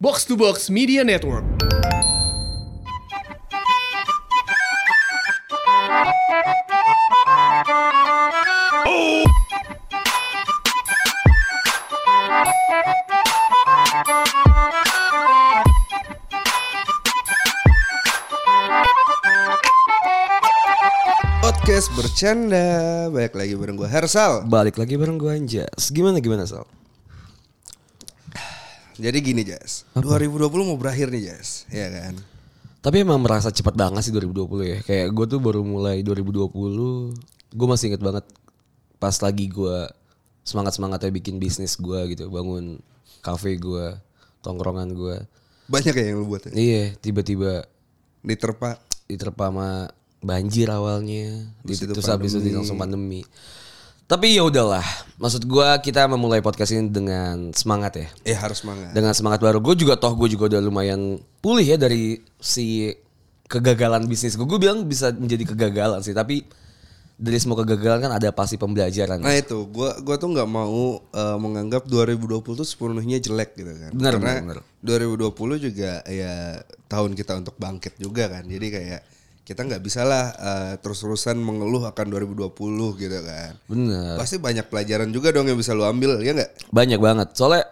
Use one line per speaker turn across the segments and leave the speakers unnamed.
Box to Box Media Network.
Podcast bercanda Balik lagi bareng gue Hersal
Balik lagi bareng gue Anjas Gimana gimana Sal?
Jadi gini Jas 2020 mau berakhir nih Jas Iya kan
Tapi emang merasa cepat banget sih 2020 ya Kayak gue tuh baru mulai 2020 Gue masih inget banget Pas lagi gue Semangat-semangatnya bikin bisnis gue gitu Bangun cafe gue Tongkrongan gue
Banyak ya yang lu buat ya?
Iya tiba-tiba
Diterpa
diterpa sama banjir awalnya
Habis itu
itu habis itu langsung pandemi tapi ya udahlah maksud gue kita memulai podcast ini dengan semangat ya
Eh harus semangat
dengan semangat baru gue juga toh gue juga udah lumayan pulih ya dari si kegagalan bisnis gue gue bilang bisa menjadi kegagalan sih tapi dari semua kegagalan kan ada pasti pembelajaran
Nah itu Gue gua tuh gak mau eh, menganggap 2020 tuh sepenuhnya jelek gitu kan
Benar,
Karena
benar,
2020 juga ya tahun kita untuk bangkit juga kan Jadi kayak kita nggak bisa lah eh, terus-terusan mengeluh akan 2020 gitu kan
bener
Pasti banyak pelajaran juga dong yang bisa lu ambil ya nggak?
banyak banget soalnya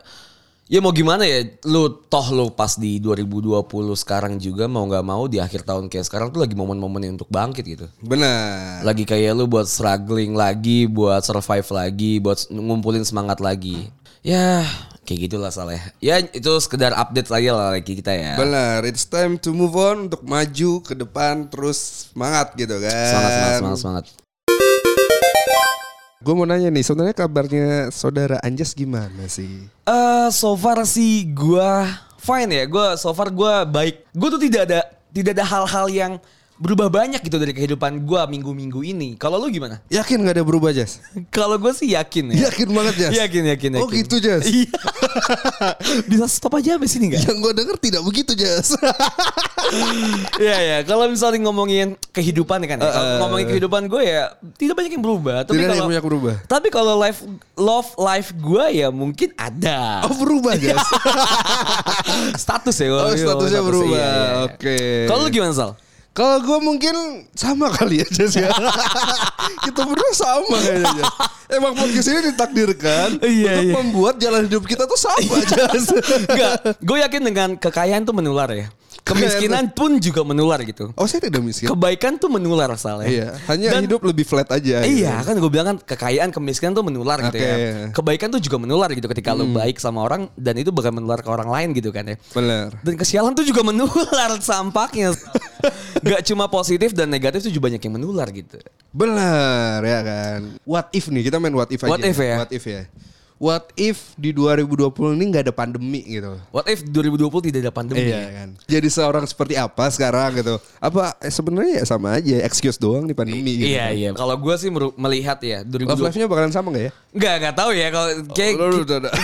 ya mau gimana ya lu toh lu pas di 2020 sekarang juga mau nggak mau di akhir tahun kayak sekarang tuh lagi momen-momennya untuk bangkit gitu
Benar
lagi kayak lu buat struggling lagi, buat survive lagi, buat ngumpulin semangat lagi. Ya, kayak gitulah Saleh. Ya itu sekedar update aja lah lagi kita ya.
Benar, it's time to move on untuk maju ke depan terus semangat gitu kan.
Semangat, semangat, semangat, semangat.
Gue mau nanya nih, sebenarnya kabarnya saudara Anjas gimana sih?
Eh, so far sih gua fine ya. Gua so far gua baik. Gue tuh tidak ada tidak ada hal-hal yang berubah banyak gitu dari kehidupan gua minggu-minggu ini. Kalau lu gimana?
Yakin gak ada berubah Jas?
Kalau gue sih yakin ya.
Yakin banget Jas?
Yakin, yakin,
Oh
yakin.
gitu Jas?
Iya. Bisa stop aja abis ini nggak?
Yang gue denger tidak begitu Jas.
Iya ya, kalau misalnya ngomongin kehidupan ya kan, ya, kalau ngomongin kehidupan gue ya tidak banyak yang berubah. Tapi
Tidak ada
kalau
yang banyak berubah.
tapi kalau life love life gue ya mungkin ada.
Oh berubah Jas?
status ya. gua
Oh,
bilang,
statusnya
iya,
berubah.
iya.
Oke.
Kalau lu gimana Sal?
Kalau gue mungkin sama kali ya Jas ya. kita berdua sama kayaknya Jas. Emang podcast ini ditakdirkan
Iya,
untuk
iya.
membuat jalan hidup kita tuh sama Jas.
Enggak, gue yakin dengan kekayaan tuh menular ya. Kemiskinan pun juga menular gitu.
Oh saya tidak miskin.
Kebaikan tuh menular Sal ya.
Iya, hanya
Dan-
hidup lebih flat aja. gitu.
Iya kan gue bilang kan kekayaan kemiskinan tuh menular
Oke.
gitu
Hmm.
ya. Kebaikan tuh juga menular gitu ketika lo baik sama orang dan itu bakal menular ke orang lain gitu kan ya.
Benar.
Dan kesialan tuh juga menular sampaknya. Gak cuma positif dan negatif tuh juga banyak yang menular gitu.
Benar ya kan. What if nih, kita main what if aja.
What if ya?
What if ya. What if di 2020 ini nggak ada pandemi gitu.
What if 2020 tidak ada pandemi?
Iya kan. Jadi seorang seperti apa sekarang gitu. Apa eh, sebenarnya ya sama aja, excuse doang di pandemi gitu.
Iya iya. Kalau gue sih meru- melihat ya
Love
2020.
life-nya bakalan sama gak ya?
Gak gak tahu ya kalau kayak
Lu- lu- lu- lu-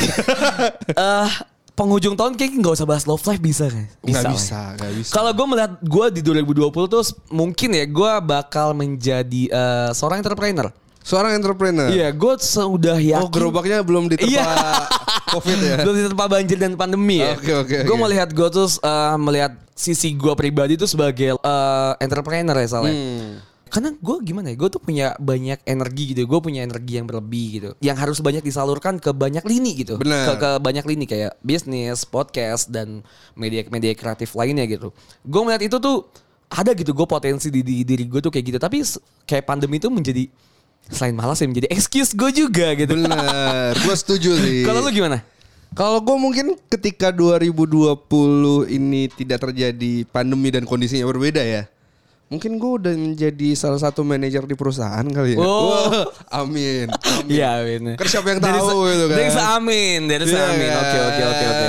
eh, penghujung tahun kayak nggak usah bahas love life bisa kan?
Nggak
lah.
bisa, nggak bisa.
Kalau gue melihat gue di 2020 tuh s- mungkin ya gue bakal menjadi eh, seorang entrepreneur.
Seorang entrepreneur.
Iya, gue sudah yakin.
Eh. Oh gerobaknya belum diterpa
Iya.
covid ya?
Belum diterpa banjir dan pandemi ya.
Oke, oke,
Gue
oke.
melihat gue tuh eh, melihat sisi gue pribadi tuh sebagai eh, entrepreneur ya soalnya.
Hmm.
Karena gue gimana ya, gue tuh punya banyak energi gitu, gue punya energi yang berlebih gitu, yang harus banyak disalurkan ke banyak lini gitu,
Benar.
Ke, ke banyak lini kayak bisnis, podcast dan media-media kreatif lainnya gitu. Gue melihat itu tuh ada gitu, gue potensi di, di diri gue tuh kayak gitu, tapi se- kayak pandemi itu menjadi selain malas ya menjadi excuse gue juga gitu.
Benar, gue setuju sih.
Kalau lu gimana?
Kalau gue mungkin ketika 2020 ini tidak terjadi pandemi dan kondisinya berbeda ya. Mungkin gue udah menjadi salah satu manajer di perusahaan kali ya.
Oh.
Wah, amin. amin.
Iya, amin.
Kan siapa yang
Dari
tahu
se-
gitu kan.
Dari seamin, dari
Iya
seamin. Oke,
kan?
oke, oke, oke.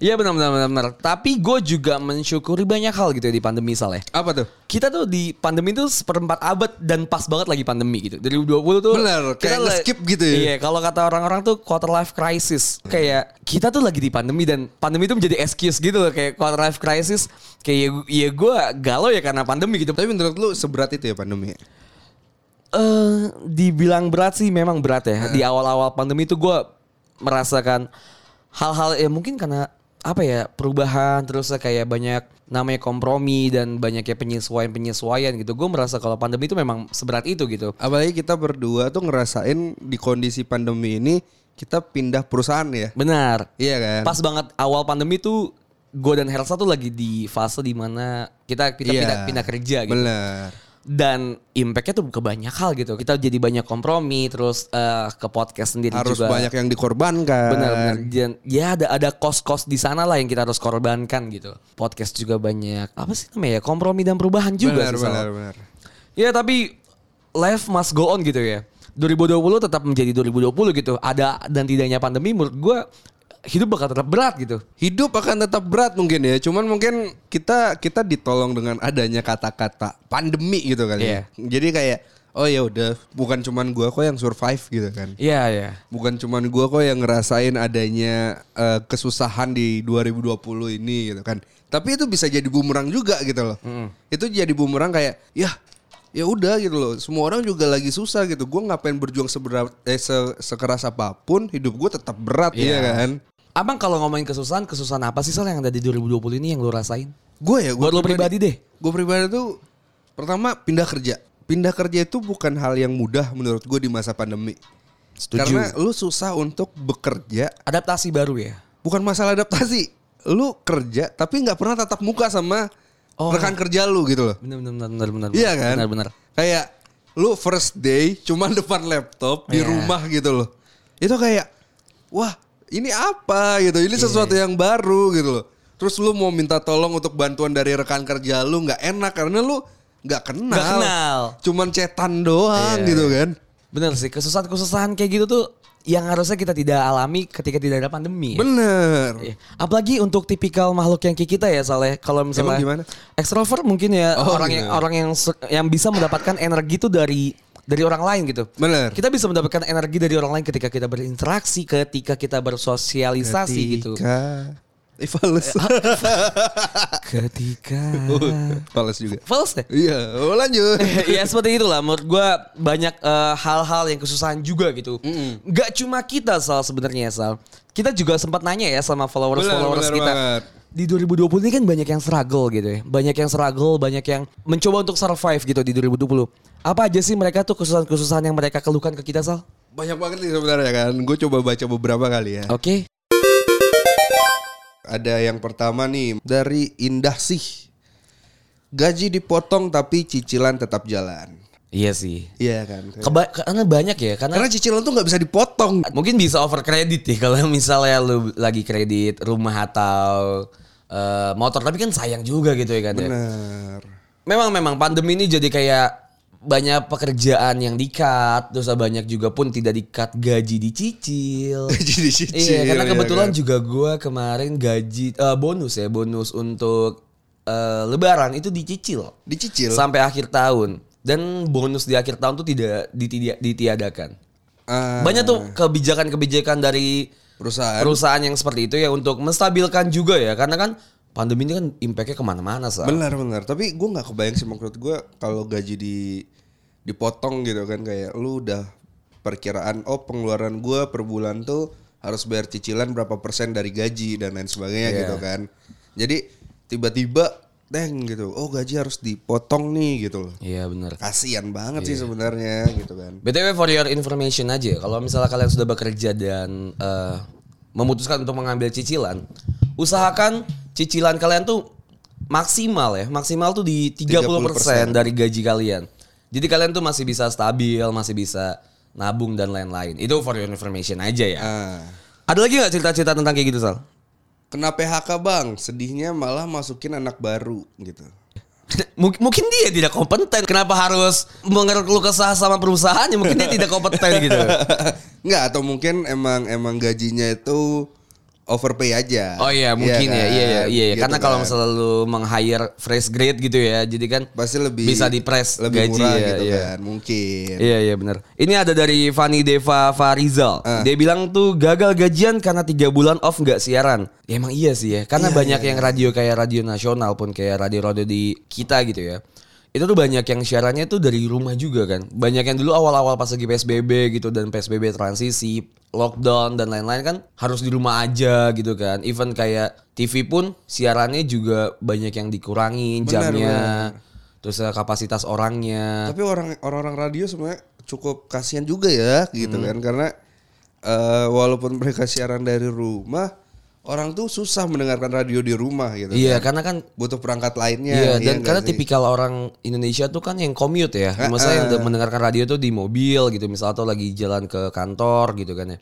Iya benar benar benar benar. Tapi gue juga mensyukuri banyak hal gitu ya di pandemi Saleh.
Apa tuh?
Kita tuh di pandemi tuh seperempat abad dan pas banget lagi pandemi gitu. Dari 2020 tuh
Benar, kayak
la-
nge-skip gitu ya.
Iya, kalau kata orang-orang tuh quarter life crisis. Kayak kita tuh lagi di pandemi dan pandemi tuh menjadi excuse gitu loh kayak quarter life crisis. Kayak ya, ya gue galau ya karena pandemi gitu.
Tapi menurut lu seberat itu ya pandemi?
eh dibilang berat sih memang berat ya. Di awal-awal pandemi itu gue merasakan hal-hal ya mungkin karena apa ya perubahan terus kayak banyak namanya kompromi dan banyaknya penyesuaian penyesuaian gitu gue merasa kalau pandemi itu memang seberat itu gitu
Apalagi kita berdua tuh ngerasain di kondisi pandemi ini kita pindah perusahaan ya.
benar
Iya kan?
pas banget awal pandemi tuh gue dan Hersa tuh lagi di fase dimana kita kita
Iya.
pindah, pindah kerja gitu
Bener.
dan impactnya tuh ke banyak hal gitu kita jadi banyak kompromi terus eh, ke podcast sendiri
Harus
juga
banyak yang dikorbankan.
benar-benar Dan ya ada ada kos-kos di sana lah yang kita harus korbankan gitu podcast juga banyak apa sih namanya ya kompromi dan perubahan juga
Benar,
sih, Sal.
benar, benar.
Ya tapi life must go on gitu ya. 2020 tetap menjadi 2020 gitu. Ada dan tidaknya pandemi menurut gua hidup bakal tetap berat gitu.
Hidup akan tetap berat mungkin ya. Cuman mungkin kita kita ditolong dengan adanya kata-kata pandemi gitu kan.
Iya.
ya. Jadi kayak oh ya udah bukan cuman gua kok yang survive gitu kan.
Iya ya.
Bukan cuman gua kok yang ngerasain adanya eh, kesusahan di 2020 ini gitu kan. Tapi itu bisa jadi bumerang juga gitu loh. Itu jadi bumerang kayak ya ya udah gitu loh. Semua orang juga lagi susah gitu. Gua ngapain berjuang seberat eh, se- sekeras apapun, hidup gua tetap berat
Iya.
ya kan.
Abang kalau ngomongin kesusahan, kesusahan apa sih Sal yang ada di 2020 ini yang lu rasain?
Gue ya
Buat
gua
lo pribadi deh.
Gue pribadi tuh pertama pindah kerja. Pindah kerja itu bukan hal yang mudah menurut gue di masa pandemi. Karena lu susah untuk bekerja
Adaptasi baru ya.
bukan masalah adaptasi. Lu kerja tapi nggak pernah tatap muka sama
Oh.
rekan kerja lu gitu loh.
Benar benar benar benar benar.
Iya kan?
Benar benar.
Kayak lu first day cuman depan laptop di
Iya.
rumah gitu loh. Itu kayak wah, ini apa gitu.
Iya,
Ini sesuatu yang baru gitu loh. Terus lu mau minta tolong untuk bantuan dari rekan kerja lu nggak enak karena lu nggak kenal.
Nggak kenal. Iya.
Cuman cetan doang gitu kan.
Benar sih, kesusahan-kesusahan kayak gitu tuh yang harusnya kita tidak alami ketika tidak ada pandemi. ya.
Bener.
Iya. Apalagi untuk tipikal makhluk yang kayak kita ya Saleh. Kalau
Emang
misalnya
gimana?
ekstrovert mungkin ya
Oh,
orang
gitu.
yang orang yang se- yang bisa mendapatkan energi itu dari dari orang lain gitu.
Bener.
Kita bisa mendapatkan energi dari orang lain ketika kita berinteraksi, ketika kita bersosialisasi gitu. ah.
Ketika Eh, fals.
Ketika
Fals juga.
False deh.
Iya, oh, lanjut.
ya seperti itulah menurut gue banyak eh, hal-hal yang kesusahan juga gitu. Gak cuma kita Sal sebenarnya Sal. Kita juga sempat nanya ya sama followers-followers
Benar, benar
kita.
banget.
Di 2020 ini kan banyak yang struggle gitu ya. Banyak yang struggle, banyak yang mencoba untuk survive gitu di 2020. Apa aja sih mereka tuh kesusahan-kesusahan yang mereka keluhkan ke kita Sal?
Banyak banget nih sebenarnya kan. Gue coba baca beberapa kali ya.
Oke.
Ada yang pertama nih dari Indah Sih. Gaji dipotong tapi cicilan tetap jalan.
Iya sih.
Iya kan.
Keba- karena banyak ya, karena
Karena cicilan tuh nggak bisa dipotong.
mungkin bisa over kredit ya kalau misalnya lu lagi kredit rumah atau eh, motor tapi kan sayang juga gitu ya kan ya.
Bener.
Memang memang pandemi ini jadi kayak banyak pekerjaan yang dikat, terus banyak juga pun tidak dikat gaji dicicil.
Gaji dicicil.
Iya, karena
iya
kebetulan
kan.
juga gua kemarin gaji eh, bonus ya, bonus untuk eh, lebaran itu dicicil
dicicil.
sampai akhir tahun. Dan bonus di akhir tahun tuh tidak ditidia- ditiadakan.
Ah, Kan?
Banyak tuh kebijakan-kebijakan dari
perusahaan.
perusahaan yang seperti itu ya untuk menstabilkan juga ya, karena kan pandemi ini kan impactnya kemana-mana sah.
Benar benar. Tapi gue nggak kebayang sih maksud gue kalau gaji di dipotong gitu kan kayak lu udah perkiraan oh pengeluaran gue per bulan tuh harus bayar cicilan berapa persen dari gaji dan lain sebagainya
Iya.
gitu kan. Jadi tiba-tiba deng gitu. Oh gaji harus dipotong nih gitu loh.
Iya benar.
Kasian banget sih sebenarnya gitu kan.
BTW for your information aja, kalau misalnya kalian sudah bekerja dan eh, memutuskan untuk mengambil cicilan, usahakan cicilan kalian tuh maksimal ya, maksimal tuh di 30%,
30%.
dari gaji kalian. Jadi kalian tuh masih bisa stabil, masih bisa nabung dan lain-lain. Itu for your information aja ya.
Ah.
Ada lagi nggak cerita-cerita tentang kayak gitu Sal?
Kena PHK bang, sedihnya malah masukin anak baru gitu.
Mung- mungkin dia tidak kompeten. Kenapa harus mengeruk keluh kesah sama perusahaan? Mungkin dia tidak kompeten gitu.
Enggak atau mungkin emang emang gajinya itu overpay aja.
Oh iya mungkin ya,
kan?
iya iya iya.
Gitu
Karena
kan.
kalau misalnya lu meng-hire fresh grade gitu ya, jadi kan
pasti lebih
bisa di-press
lebih
gaji
murah
ya,
gitu
iya.
kan mungkin.
Iya iya benar. Ini ada dari Fani Deva Farizal.
Ah.
Dia bilang tuh gagal gajian karena tiga bulan off nggak siaran. Ya emang
Iya,
iya sih ya. Karena banyak yang radio kayak radio nasional pun kayak radio radio di kita gitu ya. itu tuh banyak yang siarannya tuh dari rumah juga kan. Banyak yang dulu awal-awal pas lagi PSBB gitu dan PSBB transisi, lockdown dan lain-lain kan harus di rumah aja gitu kan. Even kayak TV pun siarannya juga banyak yang dikurangin
Benar,
jamnya. Terus eh, kapasitas orangnya.
Tapi orang orang-orang radio sebenarnya cukup kasihan juga ya
Hmm.
gitu kan karena eh, walaupun mereka siaran dari rumah, orang tuh susah mendengarkan radio di rumah gitu.
Iya, karena kan
Butup perangkat lainnya.
Iya, dan
nggak
karena
sih?
tipikal orang Indonesia tuh kan yang commute ya. Misalnya yang mendengarkan radio tuh di mobil gitu, misal atau lagi jalan ke kantor gitu kan ya.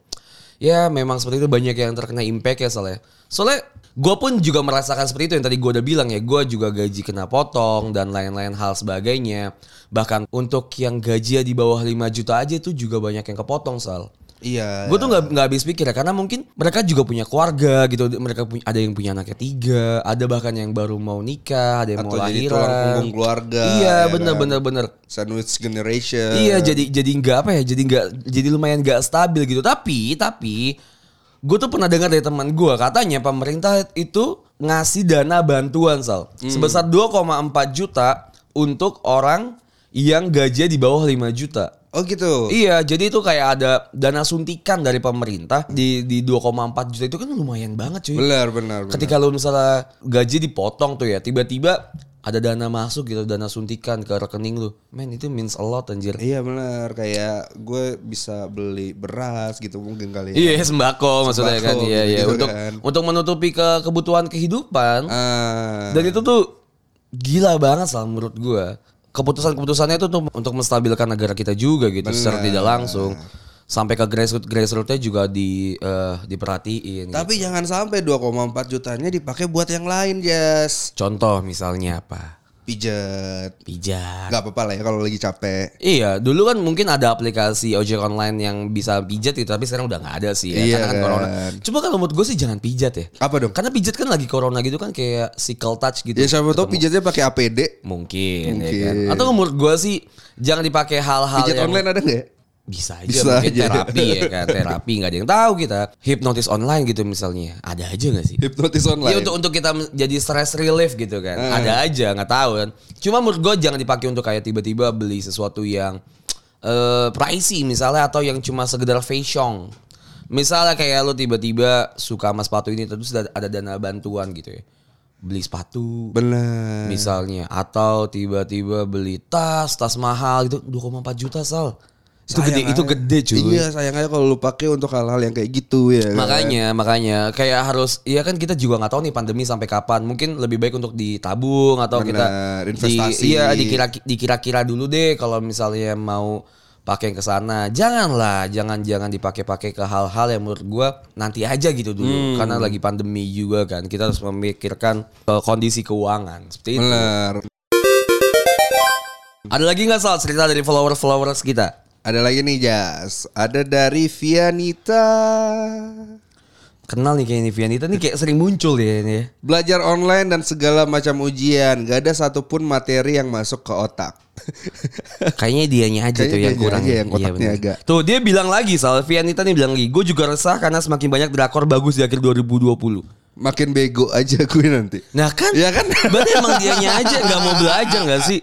Ya memang seperti itu banyak yang terkena impact ya soalnya. Soalnya gue pun juga merasakan seperti itu yang tadi gue udah bilang ya. Gue juga gaji kena potong dan lain-lain hal sebagainya. Bahkan untuk yang gaji ya di bawah 5 juta aja tuh juga banyak yang kepotong soal.
Iya.
Gue tuh nggak nggak habis pikir ya karena mungkin mereka juga punya keluarga gitu. Mereka punya ada yang punya anaknya tiga, ada bahkan yang baru mau nikah, ada yang
atau
mau
jadi tulang punggung
lahiran.
keluarga.
Iya
ya
bener
kan? Eh.
bener bener.
Sandwich generation.
Iya jadi jadi nggak apa ya jadi nggak jadi lumayan nggak stabil gitu. Tapi tapi gue tuh pernah dengar dari teman gue katanya pemerintah itu ngasih dana bantuan sal
Hmm.
sebesar 2,4 juta untuk orang yang gajinya di bawah 5 juta.
Oh gitu.
Iya, jadi itu kayak ada dana suntikan dari pemerintah di di 2,4 juta itu kan lumayan banget cuy.
Benar benar. benar.
Ketika lu misalnya gaji dipotong tuh ya, tiba-tiba ada dana masuk gitu, dana suntikan ke rekening lu. Men, itu means a lot anjir.
Iya benar kayak gue bisa beli beras gitu mungkin kali ya.
Iya, sembako maksudnya kan.
Sembako,
Iya, iya,
gitu-gitu
untuk
kan.
untuk menutupi ke kebutuhan kehidupan.
Ah.
Dan itu tuh gila banget sal menurut gua. Keputusan-keputusannya itu tuh untuk menstabilkan negara kita juga gitu secara tidak langsung. Sampai ke grassroots grassrootsnya juga di eh, diperhatiin. gitu.
Tapi jangan sampai 2,4 jutanya dipakai buat yang lain, Jas.
Contoh misalnya apa?
Pijet.
Pijat.
Gak apa-apa lah ya kalau lagi capek.
Iya, dulu kan mungkin ada aplikasi ojek online yang bisa pijat gitu, tapi sekarang udah nggak ada sih ya,
Iya
karena kan
kan.
corona. Cuma kalau menurut gue sih jangan pijat ya.
Apa dong?
Karena pijat kan lagi corona gitu kan kayak sickle touch gitu.
Ya siapa tau pijatnya pakai APD.
Mungkin, ya
Mungkin.
kan. Atau menurut gue sih jangan dipakai hal-hal
Pijat
yang
online ada nggak? ya?
bisa aja
Bisa
mungkin
aja.
terapi ya kan terapi nggak ada yang tahu kita hipnotis online gitu misalnya ada aja nggak sih
Hipnotis
Ya
online. Ah.
untuk untuk kita men- jadi stress relief gitu kan. Ada aja nggak tahu kan. Cuma menurut gue jangan dipakai untuk kayak tiba-tiba beli sesuatu yang eh pricey misalnya atau yang cuma sekedar fashion. Misalnya kayak lu tiba-tiba suka sama sepatu ini terus ada ada dana bantuan gitu ya. Beli sepatu
Benar.
misalnya atau tiba-tiba beli tas, tas mahal gitu 2,4 juta sal. Itu gede
Sayang
itu
aja.
gede cuy.
Iya sayang aja kalau lu pakai untuk hal-hal yang kayak gitu ya. kan?
Makanya, makanya kayak harus ya kan kita juga nggak tahu nih pandemi sampai kapan. Mungkin lebih baik untuk ditabung atau kita
Benar,
di-
investasi.
iya dikira dikira-kira dulu deh kalau misalnya mau pakai ke sana. Janganlah, jangan jangan dipakai-pakai ke hal-hal yang menurut gua nanti aja gitu
Hmm.
dulu karena lagi pandemi juga kan. Kita harus memikirkan eh, kondisi keuangan seperti itu.
Benar.
Ada lagi nggak soal cerita dari follower-followers kita?
Ada lagi nih Jas. Ada dari Vianita.
Kenal nih kayak ini Vianita nih kayak sering muncul ya ini ya.
Belajar online dan segala macam ujian. Gak ada satupun materi yang masuk ke otak.
Kayaknya dianya
Kayaknya
aja tuh yang
dianya
kurang.
aja
ya.
yang kotaknya
bener.
agak.
Tuh dia bilang lagi soal Vianita nih bilang lagi, gue juga resah karena semakin banyak drakor bagus di akhir 2020.
Makin bego aja gue nanti.
Nah kan,
Iya kan?
berarti emang dianya aja nggak mau belajar nggak sih?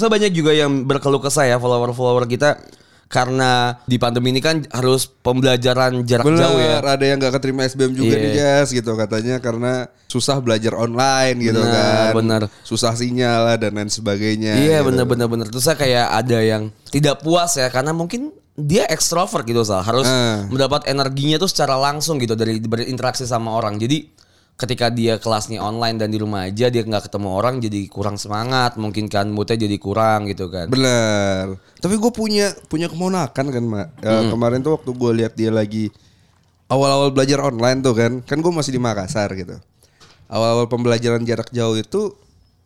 So banyak juga yang berkeluh kesah ya follower-follower kita karena di pandemi ini kan harus pembelajaran jarak
Bener,
jauh ya.
ada yang gak keterima SBM juga
Iya.
nih Jas gitu katanya karena susah belajar online gitu
Bener,
kan.
Nah, bener.
Susah sinyal lah dan lain sebagainya.
Iya
gitu.
bener-bener bener. Terus saya kayak ada yang tidak puas ya karena mungkin dia ekstrovert gitu sal harus
Eh.
mendapat energinya tuh secara langsung gitu dari berinteraksi sama orang. Jadi ketika dia kelasnya online dan di rumah aja dia nggak ketemu orang jadi kurang semangat mungkin kan moodnya jadi kurang gitu kan.
Bener. Tapi gue punya punya kemonakan kan, Mak. Ya, Kemarin tuh waktu gue lihat dia lagi awal-awal belajar online tuh kan, kan gue masih di Makassar gitu. Awal-awal pembelajaran jarak jauh itu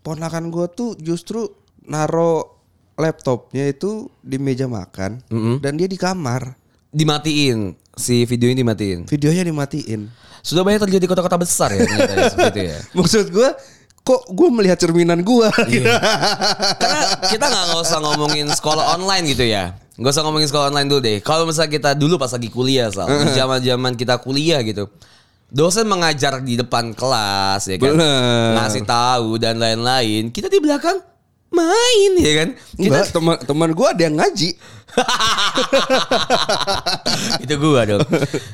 ponakan gue tuh justru naro laptopnya itu di meja makan dan dia di kamar.
Dimatiin si video ini dimatiin.
Videonya dimatiin.
Sudah banyak terjadi di kota-kota besar ya ternyata ya, seperti itu ya.
Maksud gue kok gue melihat cerminan gue Iya.
Karena kita nggak nggak usah ngomongin sekolah online gitu ya. Nggak usah ngomongin sekolah online dulu deh. Kalau misalnya kita dulu pas lagi kuliah, Sal. Di zaman-zaman kita kuliah gitu. Dosen mengajar di depan kelas ya kan.
Bener.
Ngasih tahu dan lain-lain. Kita di belakang main ya kan
Enggak, teman-teman gue ada yang ngaji.
itu gua dong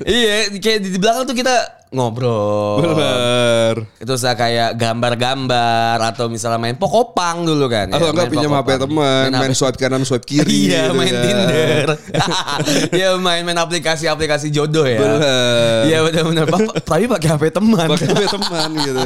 iya kayak di di belakang tuh kita ngobrol
Bener.
itu saya kayak gambar-gambar atau misalnya main pokopang dulu kan
Atau enggak
main
pinjam HP
pokopang.
teman,
Main
main
HP
swipe kanan swipe kiri.
iya,
gitu
main
kan.
Tinder. Iya, main-main aplikasi-aplikasi jodoh ya.
Bener.
Iya, benar-benar. Pak- Tapi pakai HP teman.
Pakai HP teman gitu.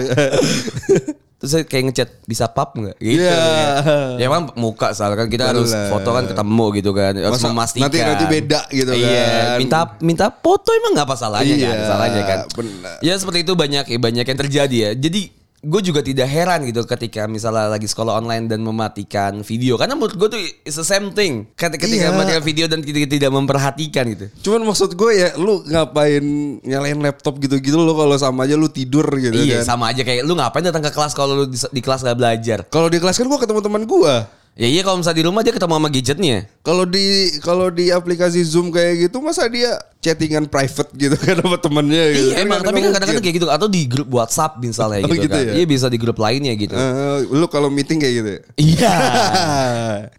Terus saya kayak ngechat bisa pap nggak? Gitu.
Iya.
Ya kan muka soalnya kan kita harus
Bener.
foto kan ketemu gitu kan. Harus
Masa
memastikan.
nanti- nanti beda gitu
Iya.
kan.
Minta minta foto emang nggak apa salahnya
Iya,
kan? Salahnya kan.
bener.
Ya seperti itu banyak banyak yang terjadi ya. Jadi gue juga tidak heran gitu ketika misalnya lagi sekolah online dan mematikan video karena menurut gue tuh it's the same thing ketika
Iya.
mematikan video dan kita tidak memperhatikan gitu
Cuman maksud gue ya lu ngapain nyalain laptop gitu-gitu lo kalau sama aja lu tidur gitu
iya
kan.
sama aja kayak lu ngapain datang ke kelas kalau lu di, di kelas gak belajar
Kalau di kelas kan gue ketemu teman gue.
ya iya kalau misalnya di rumah dia ketemu sama gadgetnya
Kalau di kalau di aplikasi Zoom kayak gitu masa dia chattingan private gitu kan sama temennya gitu.
Iya emang tapi kan kadang-kadang kayak gitu atau di grup WhatsApp misalnya
Oh,
gitu,
gitu
kan.
ya?
Iya bisa di grup lainnya gitu.
Eh, lu kalau meeting kayak gitu. ya?
Iya.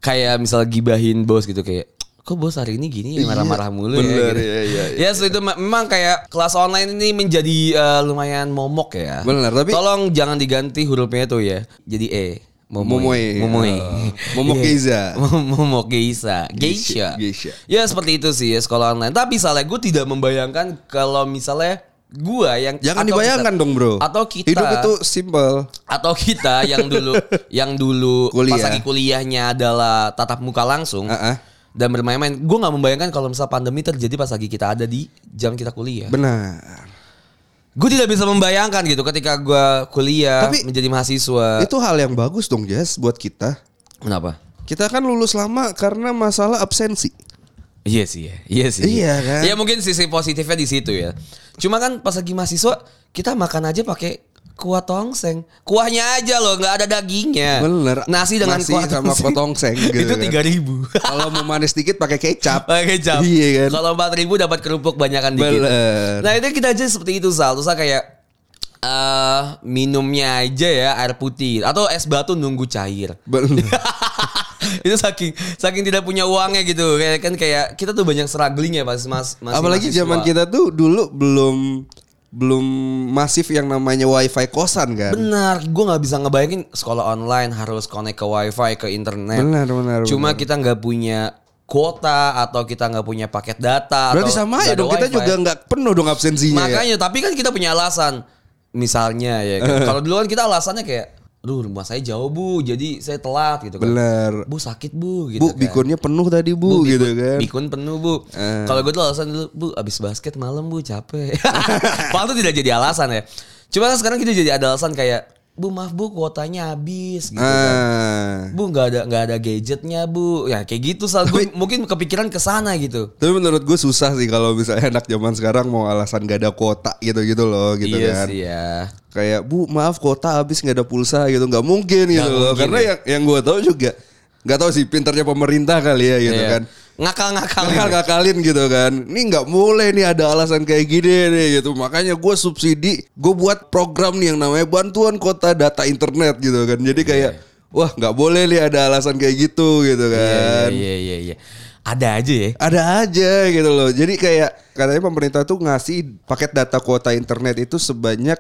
kayak misalnya gibahin bos gitu kayak kok bos hari ini gini ya marah-marah mulu
Iya, bener,
ya. gitu.
iya, iya,
Ya so itu me- memang kayak kelas online ini menjadi eh, lumayan momok ya.
Bener, tapi-
tolong jangan diganti hurufnya tuh ya. Jadi E.
Momoy.
Momoy. Momoy.
ya. Oh. Momok Geiza.
Iya. Momok Geisa. Geisha.
Geisha.
Ya seperti itu sih ya sekolah online. Tapi misalnya gue tidak membayangkan kalau misalnya gua yang
Jangan
atau
dibayangkan
kita-
dong bro.
Atau kita
Hidup itu simple.
atau kita yang dulu yang dulu
Kuliah.
pas lagi kuliahnya adalah tatap muka langsung
Ah, ah.
dan bermain-main gue nggak membayangkan kalau misal pandemi terjadi pas lagi kita ada di jam kita kuliah
Benar.
gue tidak bisa membayangkan gitu ketika gue kuliah
Tapi-
menjadi mahasiswa
itu hal yang bagus dong Jess buat kita.
kenapa
Kita kan lulus lama karena masalah absensi.
Iya sih ya. Iya sih.
Iya kan?
Ya mungkin sisi positifnya di situ ya. Cuma kan pas lagi mahasiswa kita makan aja pakai kuah tongseng. Kuahnya aja loh, nggak ada dagingnya.
Bener.
Nasi dengan
Nasi
kuah
sama kuah tongseng, gitu
itu
kan.
tiga ribu.
Kalau mau manis dikit pakai kecap.
Pakai kecap.
Iya kan?
Kalau empat ribu dapat kerupuk banyakan dikit.
Bener.
Nah itu kita aja seperti itu Sal. Terus saya kayak eh minumnya aja ya air putih atau es batu nunggu cair.
Bener.
itu saking saking tidak punya uangnya gitu kayak kan kayak kita tuh banyak struggling ya pas mas masih
Apalagi
mahasiswa.
zaman kita tuh dulu belum belum masif yang namanya wifi kosan kan.
benar gue nggak bisa ngebayangin sekolah online harus connect ke wifi ke internet
Benar, benar,
cuma kita nggak punya kuota atau kita nggak punya paket data
Berarti
atau
sama
nggak
ya
ada
dong kita
wifi.
juga nggak penuh dong absensinya. ya.
makanya tapi kan kita punya alasan misalnya ya kan. kalau dulu kan kita alasannya kayak Duh rumah saya jauh bu, jadi saya telat gitu kan.
Bener.
Bu sakit bu, gitu
Bu
kan.
bikunnya penuh tadi bu,
Bu,
gitu
bikun-
kan.
Bikun penuh bu.
Eh.
Kalau gue tuh alasan dulu bu abis basket malam bu capek. Padahal tidak jadi alasan ya. Cuma kan sekarang kita jadi ada alasan kayak bu maaf bu kuotanya habis gitu.
Ah.
Bu nggak ada nggak ada gadgetnya bu. Ya kayak gitu saat gue mungkin kepikiran ke sana gitu.
Tapi menurut gue susah sih kalau misalnya anak zaman sekarang mau alasan gak ada kuota gitu-gitu loh gitu
iya
kan.
sih ya.
kayak bu maaf kuota habis nggak ada pulsa gitu nggak mungkin gitu loh
mungkin,
karena
ya.
yang yang gue tahu juga nggak tahu sih pinternya pemerintah kali ya gitu
Iya.
kan
Ngakal-ngakal.
kakal ngakalin gitu kan ini nggak boleh nih ada alasan kayak gini nih gitu makanya gue subsidi gue buat program nih yang namanya bantuan kuota data internet gitu kan jadi kayak wah nggak boleh nih ada alasan kayak gitu gitu
Iya
kan
iya iya. iya. Ada aja ya.
ada aja gitu loh. Jadi kayak katanya pemerintah tuh ngasih paket data kuota internet itu sebanyak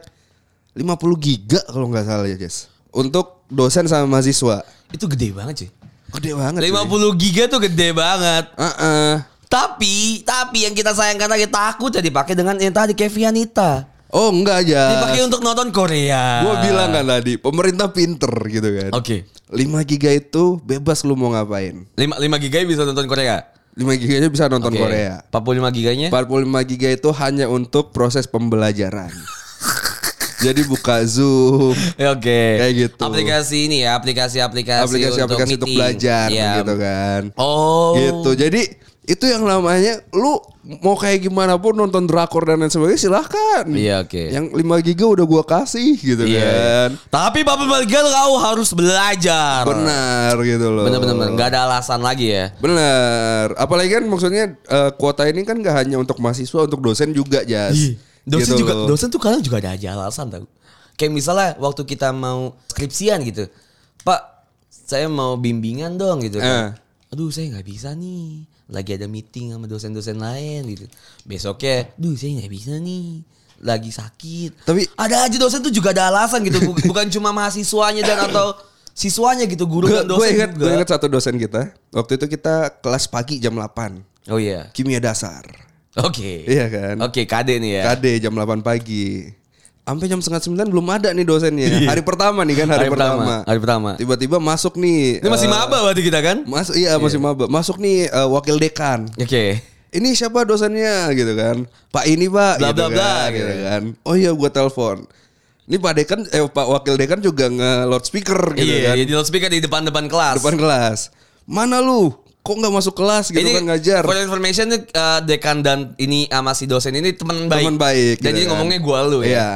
50 giga kalau nggak salah ya guys. Untuk dosen sama mahasiswa.
Itu gede banget sih.
Gede banget.
50 giga tuh gede banget.
cuy. Uh-uh.
Tapi, tapi yang kita sayangkan lagi takut jadi pakai dengan yang tadi Kevianita.
Oh enggak aja.
Dipakai untuk nonton Korea.
Gue bilang kan tadi pemerintah pinter gitu kan.
Oke.
5 giga itu bebas lu mau ngapain.
5 5 giga bisa nonton Korea.
5 giganya bisa nonton
Oke.
Korea.
45 giganya.
45 giga itu hanya untuk proses pembelajaran. Jadi buka Zoom,
Ya, Oke.
Kayak gitu.
Aplikasi ini ya, aplikasi-aplikasi
aplikasi-aplikasi untuk,
meeting.
belajar
Iya.
gitu kan.
Oh.
Gitu. Jadi itu yang namanya lu mau kayak gimana pun nonton drakor dan lain sebagainya silahkan.
Iya, oke.
Yang 5 giga udah gua kasih gitu
Iya, iya.
kan.
Tapi Bapak Belgal kau harus belajar.
Benar gitu loh.
Benar-benar nggak ada alasan lagi ya.
Benar. Apalagi kan maksudnya eh, kuota ini kan gak hanya untuk mahasiswa, untuk dosen juga, Jas.
Dosen
Gitu
juga
loh.
dosen tuh kadang juga ada aja alasan tau. Kayak misalnya waktu kita mau skripsian gitu. Pak, saya mau bimbingan dong gitu kan.
Eh.
Aduh saya nggak bisa nih. Lagi ada meeting sama dosen-dosen lain gitu. Besoknya, aduh saya nggak bisa nih. Lagi sakit.
Tapi-
ada aja dosen tuh juga ada alasan gitu. Bu- Bukan cuma mahasiswanya dan atau siswanya gitu guru dan dosen.
Gue inget,
juga.
gue inget satu dosen kita. Waktu itu kita kelas pagi jam 8.
Oh iya.
Kimia dasar.
Oke.
Iya kan?
Oke, KD nih ya.
KD jam 8 pagi. Sampai jam setengah sembilan belum ada nih dosennya. Hari pertama nih kan hari,
Iya. Hari pertama,
pertama.
hari pertama.
Tiba-tiba masuk nih.
Ini masih
eh,
maba berarti kita kan?
Mas iya masih maba. Masuk nih eh, wakil dekan.
Oke.
Ini siapa dosennya gitu kan? Pak ini pak.
Bla, bla,
gitu
bla,
kan,
gitu.
gitu kan. Oh iya gua telepon. Ini Pak Dekan, eh Pak Wakil Dekan juga nge loudspeaker gitu kan.
Iya, iya, di loudspeaker di depan-depan kelas.
Depan kelas. Mana lu? Kok nggak masuk kelas gitu kan ngajar?
For information nih, eh, dekan dan ini eh, sama si dosen ini teman baik.
Teman baik.
Dan
gitu
jadi
kan.
ngomongnya gua lu ya.
Iya.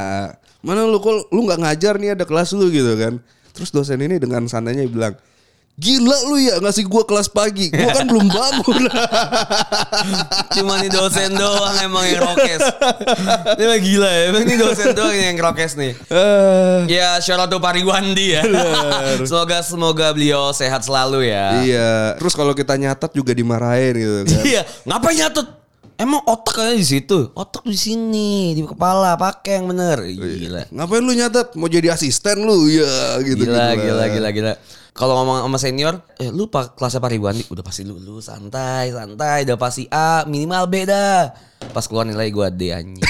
Mana lu kok lu nggak ngajar nih ada kelas lu gitu kan. Terus dosen ini dengan santainya bilang, "Gila lu ya ngasih gua kelas pagi. Gua kan belum bangun."
Cuma nih dosen doang emang yang rokes. ini mah gila ya. Emang ini dosen doang yang rokes nih.
Eh,
Ya, shout out to Pariwandi ya. semoga semoga beliau sehat selalu ya.
iya. Terus kalau kita nyatat juga dimarahin gitu kan.
Iya, ngapain nyatet? Emang otak kayaknya di situ. Otak di sini, di kepala, pakai yang bener.
Iya.
Gila.
Ngapain lu nyatet? Mau jadi asisten lu? Ya gitu
gila,
gitu
gila,
lah.
gila, gila. Kalau ngomong sama senior, eh, lu pak kelasnya Pak Ridwan nih, udah pasti lu, lu santai, santai, udah pasti A, minimal B dah. Pas keluar nilai gua D anjing.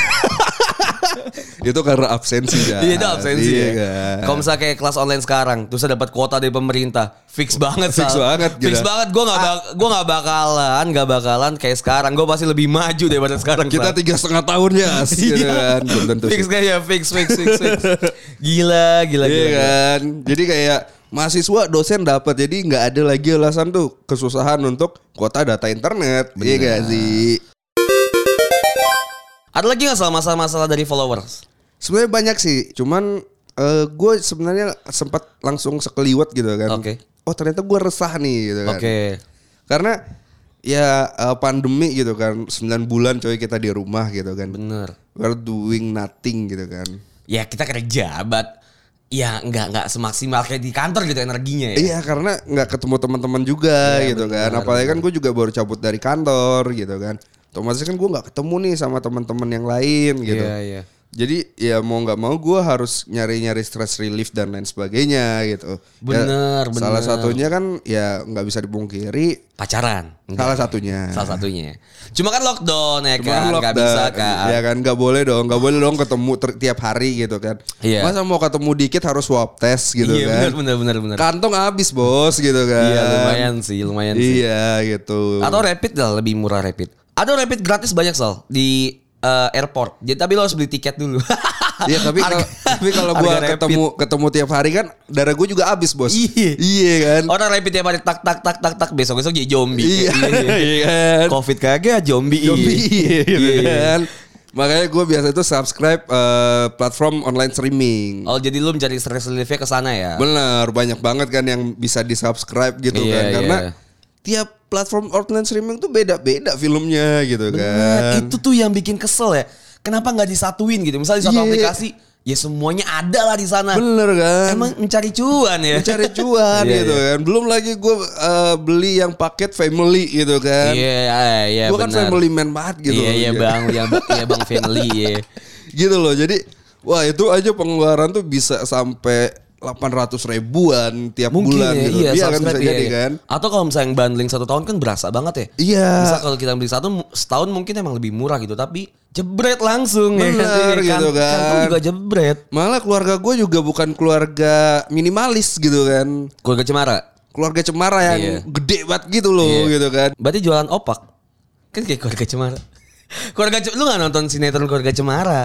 Itu karena absensi kan.
Iya, itu absensi.
Iya,
ya.
kan.
Kalau misalnya kayak kelas online sekarang, terus saya dapat kuota dari pemerintah, fix banget
Fix
Sal.
banget, gitu.
Fix
gila.
banget, gua nggak bak- gua nggak bakalan, nggak bakalan kayak sekarang. Gua pasti lebih maju daripada sekarang.
Kita
Sal.
tiga setengah tahun ya,
Iya.
gitu kan. Belum tentu sih.
fix kayak fix, fix, fix, fix. Gila, gila,
Iya
gila. gila.
kan. Jadi kayak mahasiswa dosen dapat jadi nggak ada lagi alasan tuh kesusahan untuk kuota data internet. Iya gak sih?
Ada lagi nggak Sal, masalah-masalah dari followers?
Sebenarnya banyak sih. Cuman gue sebenarnya sempat langsung sekeliwat gitu kan.
Oke.
Oh ternyata gue resah nih gitu kan.
Oke.
Karena ya eh, pandemi gitu kan. 9 bulan coy kita di rumah gitu kan.
Bener.
We're doing nothing gitu kan.
Ya kita kerja, but ya nggak nggak semaksimal kayak di kantor gitu energinya ya.
Iya karena nggak ketemu teman-teman juga
Iya,
gitu kan. Apalagi kan gue juga baru cabut dari kantor gitu kan. Otomatis kan gue nggak ketemu nih sama teman-teman yang lain gitu.
iya.
Jadi ya mau nggak mau gue harus nyari-nyari stress relief dan lain sebagainya gitu. Ya,
Bener, bener.
Salah satunya kan ya nggak bisa dipungkiri.
Pacaran. Enggak.
Salah satunya.
Salah satunya. Cuma kan lockdown ya
Cuman
kan, nggak
lockdown,
bisa kan.
Ya kan nggak boleh dong, nggak boleh dong ketemu ter- tiap hari gitu kan.
Iya.
Masa mau ketemu dikit harus swab test gitu
iya
kan.
bener bener bener bener.
Kantong habis bos gitu kan.
Iya lumayan sih, lumayan sih.
Iya gitu.
Atau rapid lah lebih murah rapid. Ada rapid gratis banyak soal di eh, airport. Jadi tapi lo harus beli tiket dulu.
Iya tapi kalau
Harga-
tapi kalau gua
harga
ketemu ketemu tiap hari kan darah gua juga habis bos.
Iya.
kan.
Orang rapid tiap hari tak tak tak tak tak besok besok jadi zombie.
Iya. Iya kan.
Covid kagak zombie.
Zombie, iya gitu
Iya.
kan. Makanya gua biasa itu subscribe eh, platform online streaming.
Oh jadi lu mencari stress reliefnya ke sana ya?
Bener banyak banget kan yang bisa di subscribe gitu
Iya,
kan
iya.
karena tiap platform online streaming tuh beda-beda filmnya gitu
Nah,
kan.
itu tuh yang bikin kesel ya. Kenapa nggak disatuin gitu? Misalnya di satu
Iya.
aplikasi, ya semuanya ada lah di sana.
Bener kan.
Emang mencari cuan ya.
cari cuan
Iya,
gitu kan. Belum lagi gue beli yang paket family gitu
Iya,
kan.
iya, iya.
gue kan
benar.
family man banget gitu.
Iya,
loh.
iya bang, iya bang, iya bang family ya.
Gitu loh. Jadi wah itu aja pengeluaran tuh bisa sampai 800 ribuan tiap
Mungkin
bulan
ya,
gitu.
iya,
kan bisa
subscribe ya,
jadi
iya.
kan.
Atau kalau misalnya yang bundling satu tahun kan berasa banget ya.
Iya.
Misal kalau kita beli satu mu- setahun mungkin emang lebih murah gitu, tapi jebret langsung ya kan?
Bener,
Iya
gitu kan.
Kantong juga jebret.
Malah keluarga gue juga bukan keluarga minimalis gitu kan.
Keluarga Cemara.
Keluarga cemara yang
Iya.
gede banget gitu loh
Iya.
gitu kan.
Berarti jualan opak. Kan kayak keluarga Cemara. Keluarga Cemara, lu gak nonton sinetron keluarga Cemara.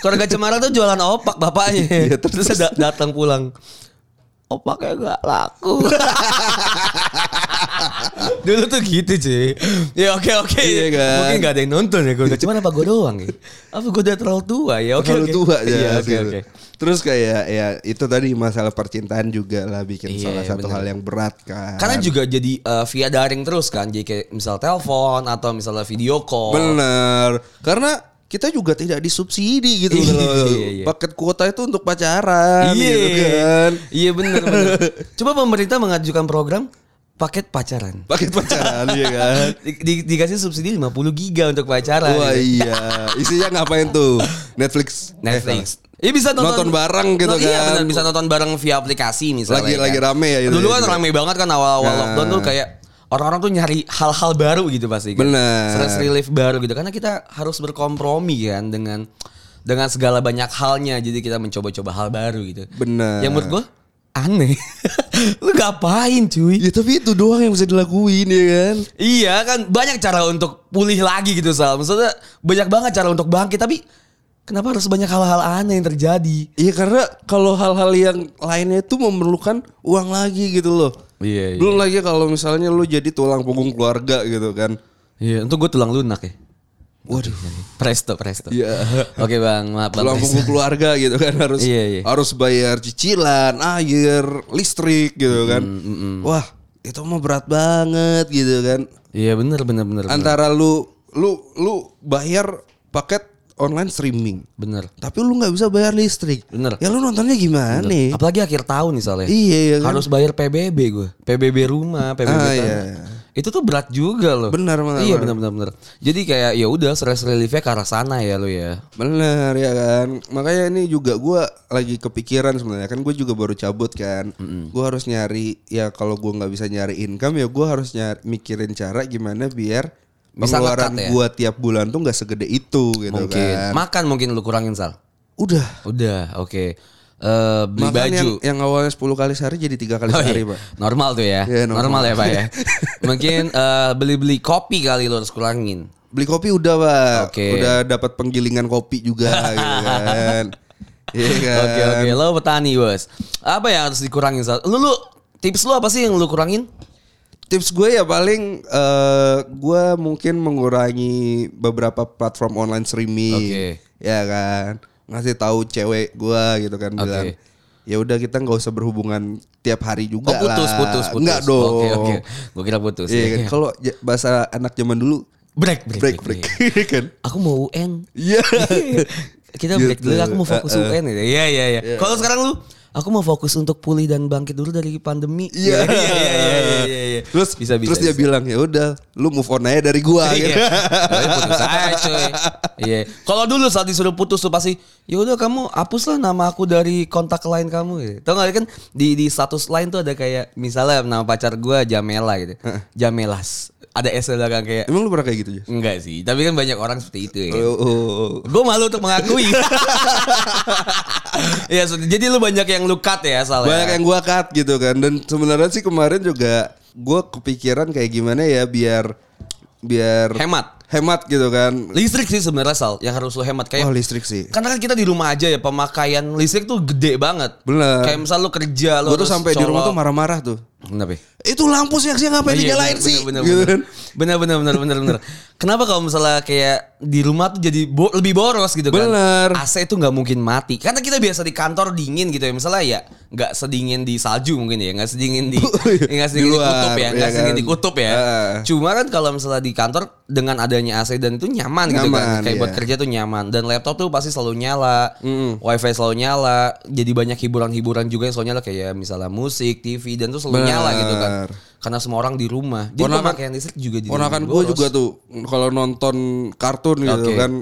Keluarga Cemara tuh jualan opak bapaknya.
Iya,
terus da- datang pulang. Opaknya gak laku. Dulu tuh gitu cuy. Ya oke oke.
Iya kan?
Mungkin gak ada yang nonton ya keluarga Cemara apa gue doang ya. Apa gue udah terlalu tua ya oke
Terlalu
oke.
tua ya.
Iya oke
gitu.
oke.
Terus kayak ya itu tadi masalah percintaan juga lah bikin
Iya,
salah satu
bener.
hal yang berat kan.
Karena juga jadi eh, via daring terus kan. Jadi kayak misal telepon atau misalnya video call.
Bener. Karena kita juga tidak disubsidi gitu
Iya,
loh.
iya, iya.
Paket kuota itu untuk pacaran
Iya
gitu kan.
Iya benar. benar. Coba pemerintah mengajukan program paket pacaran.
Paket pacaran ya kan.
Di- di- dikasih subsidi 50 giga untuk pacaran.
Wah iya, isinya ngapain tuh? Netflix.
Netflix. Iya bisa nonton,
Nonton bareng gitu kan.
Iya benar bisa nonton bareng via aplikasi misalnya.
Lagi-
kan.
lagi rame ya itu
Dulu
ya
kan
juga.
rame banget kan awal-awal
Nah.
lockdown tuh kayak orang-orang tuh nyari hal-hal baru gitu pasti. Kan.
Benar.
Stress relief baru gitu karena kita harus berkompromi kan dengan dengan segala banyak halnya jadi kita mencoba-coba hal baru gitu.
Benar.
Yang menurut gua aneh. Lu ngapain cuy?
Ya tapi itu doang yang bisa dilakuin ya kan.
Iya kan banyak cara untuk pulih lagi gitu Sal. Maksudnya banyak banget cara untuk bangkit tapi kenapa harus banyak hal-hal aneh yang terjadi?
Iya karena kalau hal-hal yang lainnya itu memerlukan uang lagi gitu loh.
Iya, iya.
Belum lagi kalau misalnya lu jadi tulang punggung keluarga gitu kan.
Iya, untuk gue tulang lunak ya.
Waduh.
Presto, presto.
Iya.
Oke bang, maaf bang.
Tulang
Presto.
punggung keluarga gitu kan harus
Iya, iya.
harus bayar cicilan, air, listrik gitu kan. Wah, itu mah berat banget gitu kan.
Iya bener bener bener. bener.
Antara lu lu lu bayar paket online streaming,
bener.
tapi lu nggak bisa bayar listrik.
Bener.
Ya lu nontonnya gimana?
Apalagi akhir tahun nih soalnya.
Iya, iya kan?
Harus bayar PBB gue. PBB rumah, PBB
Ah,
tanah.
iya.
Itu tuh berat juga loh.
Benar, benar,
Iya benar benar benar. Jadi kayak ya udah stress reliefnya ke arah sana ya lo ya.
Bener ya kan Makanya ini juga gua lagi kepikiran sebenarnya Kan gue juga baru cabut kan Gue harus nyari Ya kalau gua nggak bisa nyari income Ya gua harus nyari, mikirin cara gimana biar
Bisa
Pengeluaran
ngecut ya?
gua tiap bulan tuh nggak segede itu gitu
Mungkin
kan
makan mungkin lu kurangin sal.
Udah
Udah, oke. Eh, beli
Makan
baju.
yang, yang awalnya 10 kali sehari jadi tiga kali
Oh, iya.
sehari pak
Normal tuh ya.
Iya, normal.
normal. ya, Pak ya. Mungkin eh, beli-beli kopi kali lo harus kurangin.
Beli kopi udah pak
Oke.
Udah dapat penggilingan kopi juga gitu kan Iya
Oke,
kan
oke. Lo petani, Bos. Apa yang harus dikurangin? Sal? Lu lu tips lu apa sih yang lu kurangin?
Tips gue ya paling eh gue mungkin mengurangi beberapa platform online streaming,
Oke.
ya kan ngasih tahu cewek gue gitu kan bilang ya udah kita nggak usah berhubungan tiap hari
Oh,
juga
putus,
lah,
putus, putus.
nggak dong,
Oke, oke. Gua kira putus.
Iya
Iya.
kan? Kalau ja- bahasa anak zaman dulu
Break, break,
break break, kan,
Aku mau UN.
iya,
Kita break
Gitu.
dulu, aku mau fokus UN ya. Iya, iya, iya. Kalau sekarang lu Aku mau fokus untuk pulih dan bangkit dulu dari pandemi.
iya,
iya, iya, iya, iya.
terus
bisa bisa.
terus dia
bisa.
bilang ya udah, lu move on aja dari gue, gitu.
Iya. Tapi putus aja, coy. Iya. Kalau dulu saat disuruh putus tuh pasti, ya udah kamu hapuslah nama aku dari kontak lain kamu. Gitu. Tahu nggak kan di di status lain tuh ada kayak misalnya nama pacar gua Jamela gitu. Jamelas. Ada S di belakang kayak
emang lu pernah kayak gitu ya?
enggak sih. Tapi kan banyak orang seperti itu ya.
Oh, oh, oh.
Gue malu untuk mengakui. Iya, so- jadi lu banyak yang lu cut ya salah.
banyak yang gua cut gitu kan dan sebenarnya sih kemarin juga gua kepikiran kayak gimana ya biar biar
hemat.
hemat gitu kan
Listrik sih sebenarnya sal yang harus lu hemat kayak
wah listrik sih
Karena kan kita di rumah aja ya pemakaian listrik tuh gede banget.
Bener.
Kayak misal lu kerja
gua
lu
tuh
harus
sampai di rumah
colok.
tuh marah-marah tuh
Kenapa? ya?
itu lampu siang-siang ngapain
Iya,
dinyalain
bener,
sih
Bener
Gitu
bener
kan.
Iya, bener bener bener bener bener. Kenapa kalau misalnya kayak di rumah tuh jadi bo- lebih boros gitu kan?
Bener.
AC itu nggak mungkin mati. Karena kita biasa di kantor dingin gitu ya. Misalnya ya nggak sedingin di salju mungkin ya, nggak sedingin di
Iya.
nggak
Di
sedingin di,
luar,
kutub ya, nggak
iya
sedingin
kan?
di kutub ya.
Heeh.
Cuma kan kalau misalnya di kantor dengan adanya AC dan itu nyaman, gitu kan.
Nyaman,
Kayak buat
iya.
kerja tuh nyaman dan laptop tuh pasti selalu nyala, wifi selalu nyala. Jadi banyak hiburan-hiburan juga yang selalu nyala kayak misalnya musik, TV dan tuh selalu nyala gitu kan
Bener.
karena semua orang di rumah. Jadi
Ponakan-
pemakaian listrik juga di
ponakan gua juga tuh kalau nonton kartun gitu
Oke.
kan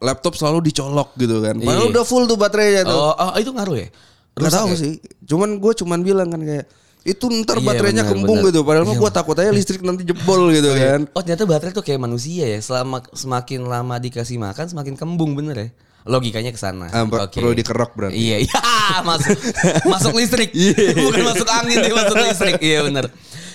laptop selalu dicolok gitu kan padahal
Iya.
udah full tuh baterainya tuh
Oh, oh, itu ngaruh ya?
Gak
Rusak
tahu
ya?
sih. Cuman gue cuman bilang kan kayak itu ntar
Iya,
baterainya
benar,
kembung
benar.
gitu. Padahal mah gue takut aja listrik nanti jebol gitu kan.
Oh ternyata baterai tuh kayak manusia ya. Selama semakin lama dikasih makan semakin kembung bener ya. Logikanya ke sana.
Ah, per-
Oke.
Perlu dikerok berarti.
Iya, iya, masuk masuk listrik.
Iya,
Bukan masuk angin dia masuk listrik. Iya bener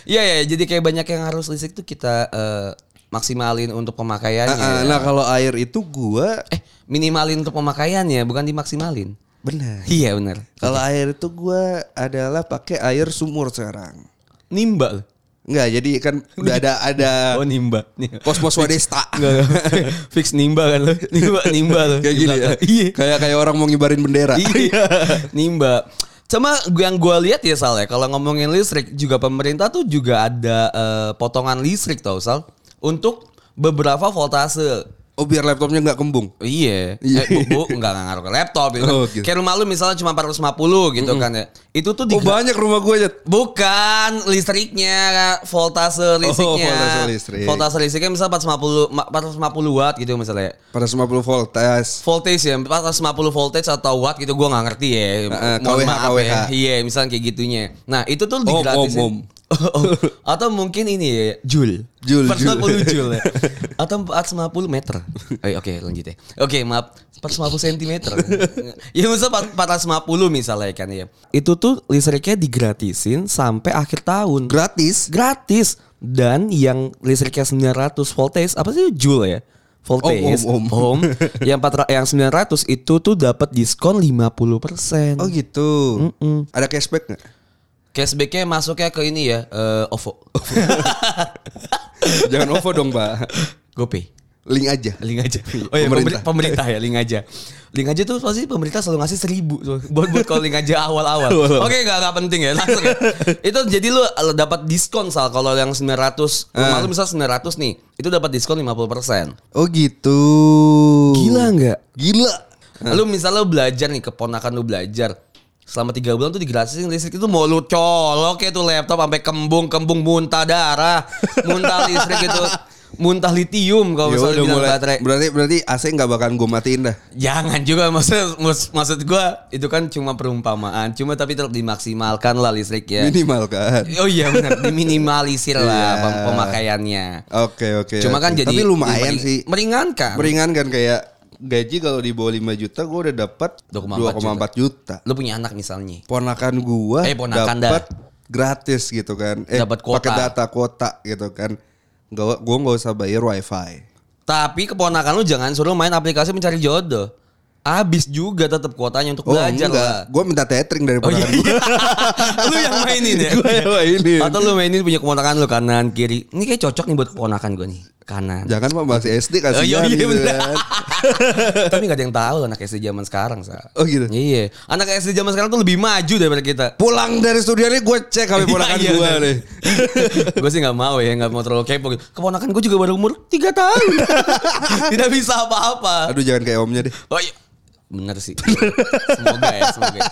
Iya ya, jadi kayak banyak yang harus listrik tuh kita eh, maksimalin untuk pemakaiannya.
Ah, ah, nah kalau air itu gue
Eh, minimalin untuk pemakaiannya, bukan dimaksimalin.
benar.
Iya bener
Kalau air itu gue adalah pakai air sumur sekarang.
Nimba. loh.
Enggak, jadi kan udah ada ada
Oh nimba. Nih.
pos-pos wadesta.
Enggak, enggak. Fix nimba kan lo. Nimba, nimba lo.
kayak gini ya.
Iya.
Kayak kayak orang mau ngibarin bendera.
Iya. nimba. Cuma gue- yang gue lihat ya Sal ya, kalau ngomongin listrik juga pemerintah tuh juga ada eh, potongan listrik tau Sal untuk beberapa voltase.
Oh biar laptopnya nggak kembung.
Iya,
Iya.
eh, bu, bu nggak nggak ngaruh ke laptop gitu.
Oh, gitu.
Kayak rumah lu misalnya cuma 450 gitu kan ya. Itu tuh di
Oh banyak rumah gue aja.
Bukan listriknya, voltase listriknya.
Oh, voltase listrik.
Voltase listriknya misalnya 450 ma- 450 watt gitu misalnya.
Pada 50 volt tes.
Voltage ya, 450 voltage atau watt gitu gua nggak ngerti ya.
Heeh,
Mohon
KWH,
maaf ya.
KWH.
Iya, misalnya kayak gitunya. Nah, itu tuh
Om,
digratisin. Oh,
om, om.
Atau mungkin ini ya, Jul.
Jul,
450 Jul. ya. Atau 450 meter. Eh, Oke, lanjut ya. Oke, maaf. 450 cm. ya misalnya 450 misalnya kan ya. Itu tuh listriknya digratisin sampai akhir tahun
Gratis.
gratis dan yang listriknya 900 voltage apa sih joule ya voltage
Om, om, om.
yang 400 yang 900 itu tuh dapat diskon 50%
Oh gitu. Ada cashback nggak?
cashbacknya masuknya ke ini ya eh, OVO
Jangan OVO dong pak.
GoPay
Link aja.
link aja oh ya pemerintah.
Pemerintah.
pemerintah ya link aja link aja tuh pasti pemerintah selalu ngasih seribu so- buat buat kalau link aja awal awal
Awal-awal.
oke nggak nggak penting ya langsung ya. itu jadi lu eh, dapat diskon sal kalau yang 900 rumah lu misal 900 nih itu dapat diskon 50%
Oh gitu.
Gila nggak?
Gila.
Lu misalnya lu belajar nih keponakan lu belajar selama tiga bulan tuh digratisin listrik itu mau lu colok ya tuh laptop sampai kembung kembung muntah darah muntah listrik itu muntah litium kalau
Ya
misalnya
udah
bilang
mulai.
baterai
Berarti berarti AC nggak bakalan gue matiin dah.
jangan juga maksud maksud, maksud gua itu kan cuma perumpamaan cuma tapi tetap dimaksimalkan lah listrik ya
Minimal kan.
oh iya benar diminimalisir lah
Iya.
pem- pemakaiannya
Oke oke.
cuma kan
oke.
jadi
tapi lumayan
mering-
sih.
meringankan
Meringan kan kayak gaji kalau di bawah 5 juta gue udah dapat
2,4
2,4 juta.
lu punya anak misalnya
Ponakan gua
Eh, ponakan dah.
dapat gratis gitu kan. Eh,
Dapat kuota.
Pakai data kuota gitu kan. Gua gua nggak usah bayar wifi.
Tapi keponakan lu jangan suruh main aplikasi mencari jodoh. Abis juga tetap kuotanya untuk
Oh
belajar
enggak,
lah.
gue minta tethering dari
Oh iya,
ponakan
iya. lu yang mainin ya.
Gua yang mainin.
Atau lu mainin punya keponakan lu kanan kiri. Ini kayak cocok nih buat keponakan gue nih kanan.
Jangan pak masih SD kasihan
Oh, iya, iya,
gitu
bener.
kan.
Tapi gak ada yang tahu anak SD zaman sekarang sa.
Oh, gitu?
Iya. Anak SD zaman sekarang tuh lebih maju daripada kita.
Pulang dari studio ini gue cek HP ponakan
Iya, iya,
gue
bener.
nih.
gue sih nggak mau ya, nggak mau terlalu kepo. gitu. Keponakan gue juga baru umur 3 tahun. Tidak bisa apa-apa.
Aduh jangan kayak omnya deh.
Oh iya. Bener sih. semoga ya, semoga. ya.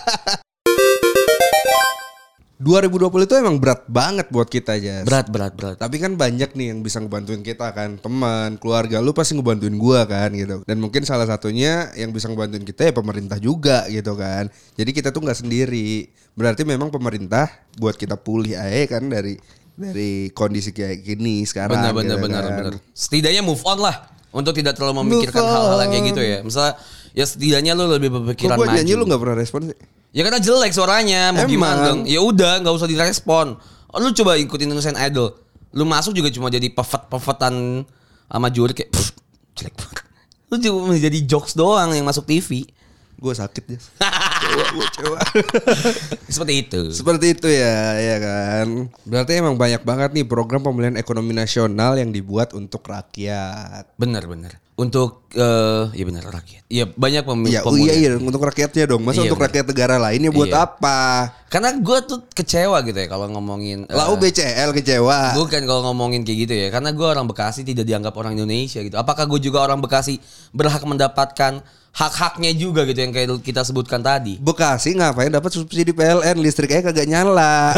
2020 itu emang berat banget buat kita aja.
Berat, berat, berat.
Tapi kan banyak nih yang bisa ngebantuin kita kan Teman, keluarga, lu pasti ngebantuin gua kan gitu Dan mungkin salah satunya yang bisa ngebantuin kita ya pemerintah juga gitu kan Jadi kita tuh nggak sendiri Berarti memang pemerintah buat kita pulih aja kan dari dari kondisi kayak gini sekarang
Benar, benar,
gitu
benar,
kan.
benar. Setidaknya move on lah. Untuk tidak terlalu memikirkan
Move
hal-hal yang
on.
kayak gitu ya. Misalnya ya setidaknya lu lebih
Kok
berpikiran
gua nyanyi lu
maju.
nggak pernah respon sih?
Ya karena jelek suaranya, mau
Emang.
gimana dong? Ya udah, nggak usah direspon. Oh, Lu coba ikutin Indonesian Idol. Lu masuk juga cuma jadi pefet-pefetan sama juri kayak "Pff, jelek banget. Lu cuma menjadi jokes doang yang masuk TV.
Gua sakit ya Gua kecewa.
Seperti itu.
Seperti itu ya, ya kan. Berarti emang banyak banget nih program pemulihan ekonomi nasional yang dibuat untuk rakyat.
Benar, benar. Untuk eh ya benar rakyat. Ya banyak pemimpin
Ya, oh iya iya untuk rakyatnya dong. Masa
Iya,
untuk
bener.
rakyat negara lainnya buat
Iya.
apa?
Karena gue tuh kecewa gitu ya kalau ngomongin eh,
Lau BCL kecewa.
Bukan kalau ngomongin kayak gitu ya Karena gue orang Bekasi tidak dianggap orang Indonesia gitu Apakah gue juga orang Bekasi berhak mendapatkan hak-haknya juga gitu Yang kayak kita sebutkan tadi
Bekasi ngapain dapat subsidi PLN listriknya kagak nyala.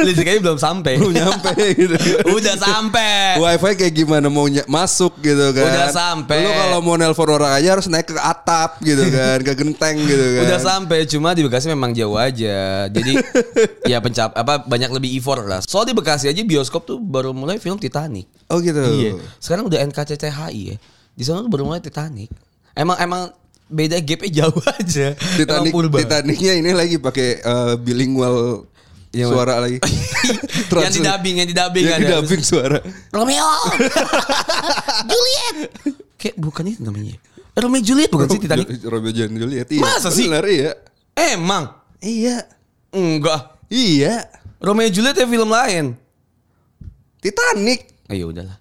Listriknya belum sampai
Belum nyampe gitu.
Udah sampai
Wifi kayak gimana mau ny- masuk gitu kan.
Udah sampai.
Lu kalau mau nelpon orang aja harus naik ke atap gitu kan, ke genteng gitu kan.
Udah sampai cuma di Bekasi memang jauh aja. Jadi ya pencap apa banyak lebih effort lah. Soal di Bekasi aja bioskop tuh baru mulai film Titanic.
Oh gitu.
Iya. Sekarang udah NKCCHI ya. Di sana tuh baru mulai Titanic. Emang emang beda gapnya jauh aja.
Titanic,
Emang purba.
Titanicnya ini lagi pakai eh, bilingual
Iya,
suara lagi.
yang
Translate.
didubbing, yang didubbing
Yang
ada.
didubbing suara.
Romeo. Juliet. Kayak bukan itu namanya. Romeo Juliet bukan sih Titanic.
Romeo dan Juliet. Iya.
Masa sih?
Bener, iya.
Emang
Iya.
enggak.
Iya.
Romeo Juliet ya film lain.
Titanic.
Ayo udahlah.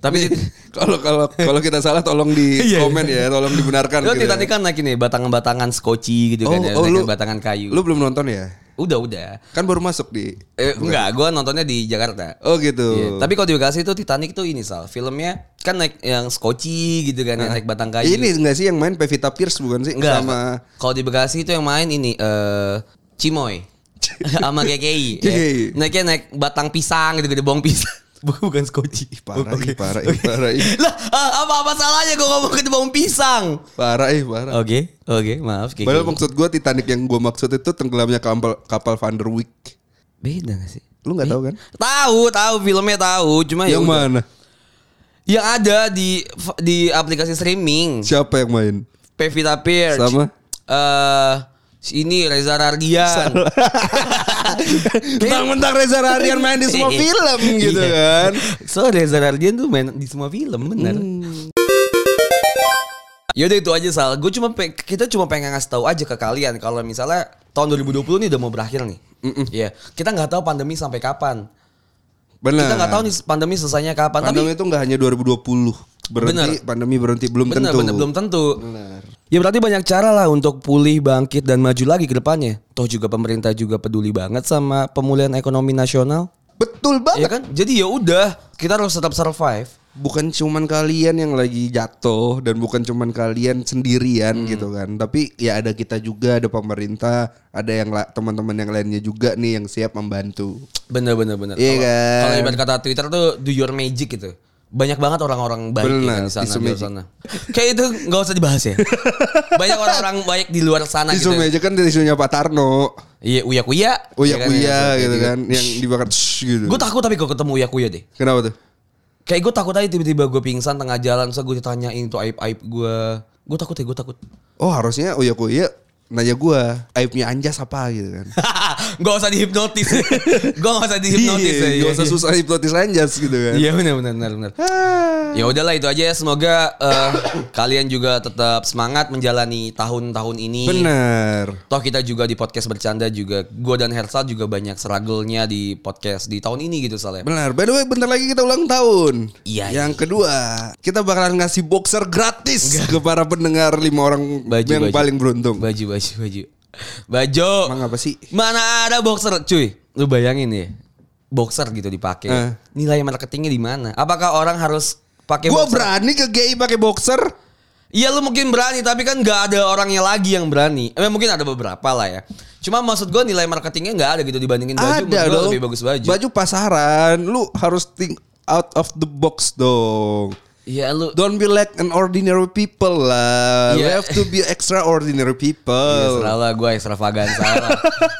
Tapi
Kalau kalau kalau kita salah tolong di
Iya,
komen ya, tolong dibenarkan.
Lo
gitu
Titanic kan naikin nih batangan-batangan skoci gitu
Oh,
kan ya,
oh,
naikin
lu-
batangan kayu.
Lu belum nonton ya?
udah udah.
Kan baru masuk di.
Eh, enggak, gua nontonnya di Jakarta.
Oh gitu.
Iya, Tapi kalau di Bekasi itu Titanic tuh ini Sal, filmnya kan naik yang skoci gitu kan yang naik batang kayu.
Nah, Ini enggak sih yang main Pevita Pierce bukan sih?
Enggak.
Sama
Kalau di Bekasi itu yang main ini eh Cimoy sama GKI. ya.
GKI.
Naiknya naik batang pisang gitu gede bong pisang. Bukan skoci.
parah
Oke.
ih, parah ih, parah ih.
Lah, ah, apa apa salahnya gue ngomong gede bong pisang?
Parah ih, parah.
Oke, oke, maaf GKI.
Padahal maksud gue Titanic yang gue maksud itu tenggelamnya kapal kapal Van der Wijk.
Beda gak sih?
Lu nggak tahu kan?
Tahu, tahu filmnya tahu, cuma ya
yang mana?
udah. yang ada di di aplikasi streaming.
Siapa yang main?
Pevita Pierce.
Sama?
Eh, si ini Reza Rardian.
Mentang-mentang Reza Rarian main di semua film gitu kan.
Iya. So Reza Rardian tuh main di semua film bener.
Hmm.
Yaudah itu aja Sal. Gue cuma pe- kita cuma pengen ngasih tahu aja ke kalian kalau misalnya tahun 2020 nih udah mau berakhir nih. Iya. Kita nggak tahu pandemi sampai kapan.
Benar.
Kita nggak tahu nih pandemi selesainya
Nah.
kapan.
Pandemi itu nggak hanya 2020. Berhenti pandemi berhenti belum
Tapi bener,
tentu. Mm.
bener, belum tentu. Ya berarti banyak cara lah untuk pulih, bangkit dan maju lagi ke depannya. Toh juga pemerintah juga peduli banget sama pemulihan ekonomi nasional.
Betul
Ya
banget.
kan? Jadi ya udah, kita harus tetap survive.
Bukan cuman kalian yang lagi jatuh dan bukan cuman kalian
Hmm.
sendirian gitu kan. Tapi ya ada kita juga, ada pemerintah, ada yang la- teman-teman yang lainnya juga nih yang siap membantu.
Bener bener bener.
Iya
Kalau-
kan?
Kalau ibarat kata Twitter tuh do your magic gitu. Banyak banget orang-orang baik ya
Bener,
kan di sana
tisu
di luar
magic.
sana. Kayak itu nggak usah dibahas ya. Banyak orang-orang baik di luar sana
Isu
gitu.
meja kan dari isunya Pak Tarno.
Iya, ya, uya kuya.
Uya kuya gitu kan yang dibakar shh, gitu.
Gue takut tapi kalau ketemu uya kuya deh.
Kenapa tuh?
Kayak gue takut aja tiba-tiba gue pingsan tengah jalan, so gue ditanyain tuh aib-aib gue. Gue takut ya, gue takut.
Oh harusnya Uya Kuya nanya gua aibnya Anjas apa gitu kan.
gak usah dihipnotis. gue gak usah dihipnotis. ya,
Iya,
iya,
gak usah
iya.
susah hipnotis Anjas gitu kan.
Iya benar benar benar benar. Ya udahlah itu aja ya. Semoga eh, kalian juga tetap semangat menjalani tahun-tahun ini.
Bener.
Toh kita juga di podcast bercanda juga gue dan Hersal juga banyak struggle-nya di podcast di tahun ini gitu soalnya.
Benar. By the way, bentar lagi kita ulang tahun.
Iya,
Yang kedua, kita bakalan ngasih boxer gratis ke para pendengar lima orang
Baju,
yang
baju.
paling beruntung.
Baju baju baju. Baju.
Emang apa sih?
Mana ada boxer, cuy? Lu bayangin ya. Boxer gitu dipakai.
Eh.
Nilai marketingnya di mana? Apakah orang harus pakai
Gua
boxer?
berani ke GI pakai boxer.
Iya lu mungkin berani tapi kan nggak ada orangnya lagi yang berani. Eh, mungkin ada beberapa lah ya. Cuma maksud gue nilai marketingnya nggak ada gitu dibandingin baju.
Ada
menurut gua
dong.
Lebih bagus baju.
Baju pasaran. Lu harus think out of the box dong.
Iya lu.
Don't be like an ordinary people lah. We
Iya.
have to be extraordinary
Ya,
people.
Terserah lah gue extravaganza lah.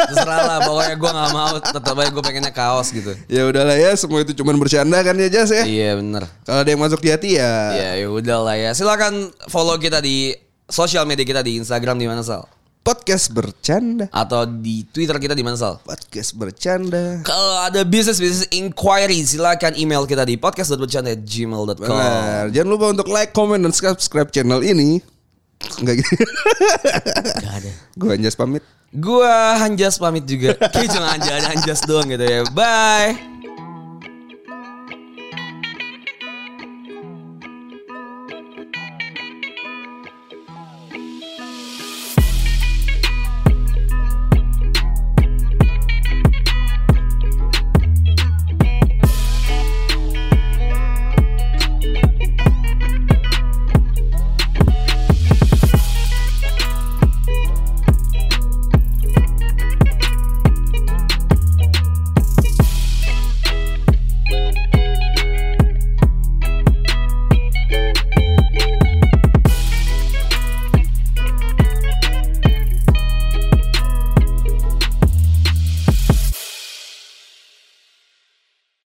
Terserah lah pokoknya gue nggak mau. Tetap aja gue pengennya kaos gitu.
Ya udahlah ya, semua itu cuman bercanda kan ya Jas ya.
Iya bener.
Kalau ada yang masuk di hati ya
Ya udah lah ya. Silakan follow kita di sosial media kita di Instagram di mana Sal?
podcast bercanda,
Atau di Twitter kita di mana Sal?
podcast bercanda.
Kalau ada business business inquiry silakan email kita di podcast.bercanda@gmail.com.
Benar. Jangan lupa untuk like, comment dan subscribe channel ini. Enggak gitu.
Gak ada.
Gua Anjas pamit.
Gua Hanjas pamit juga. Kayak cuma Anjas Hanjas doang gitu ya. Bye.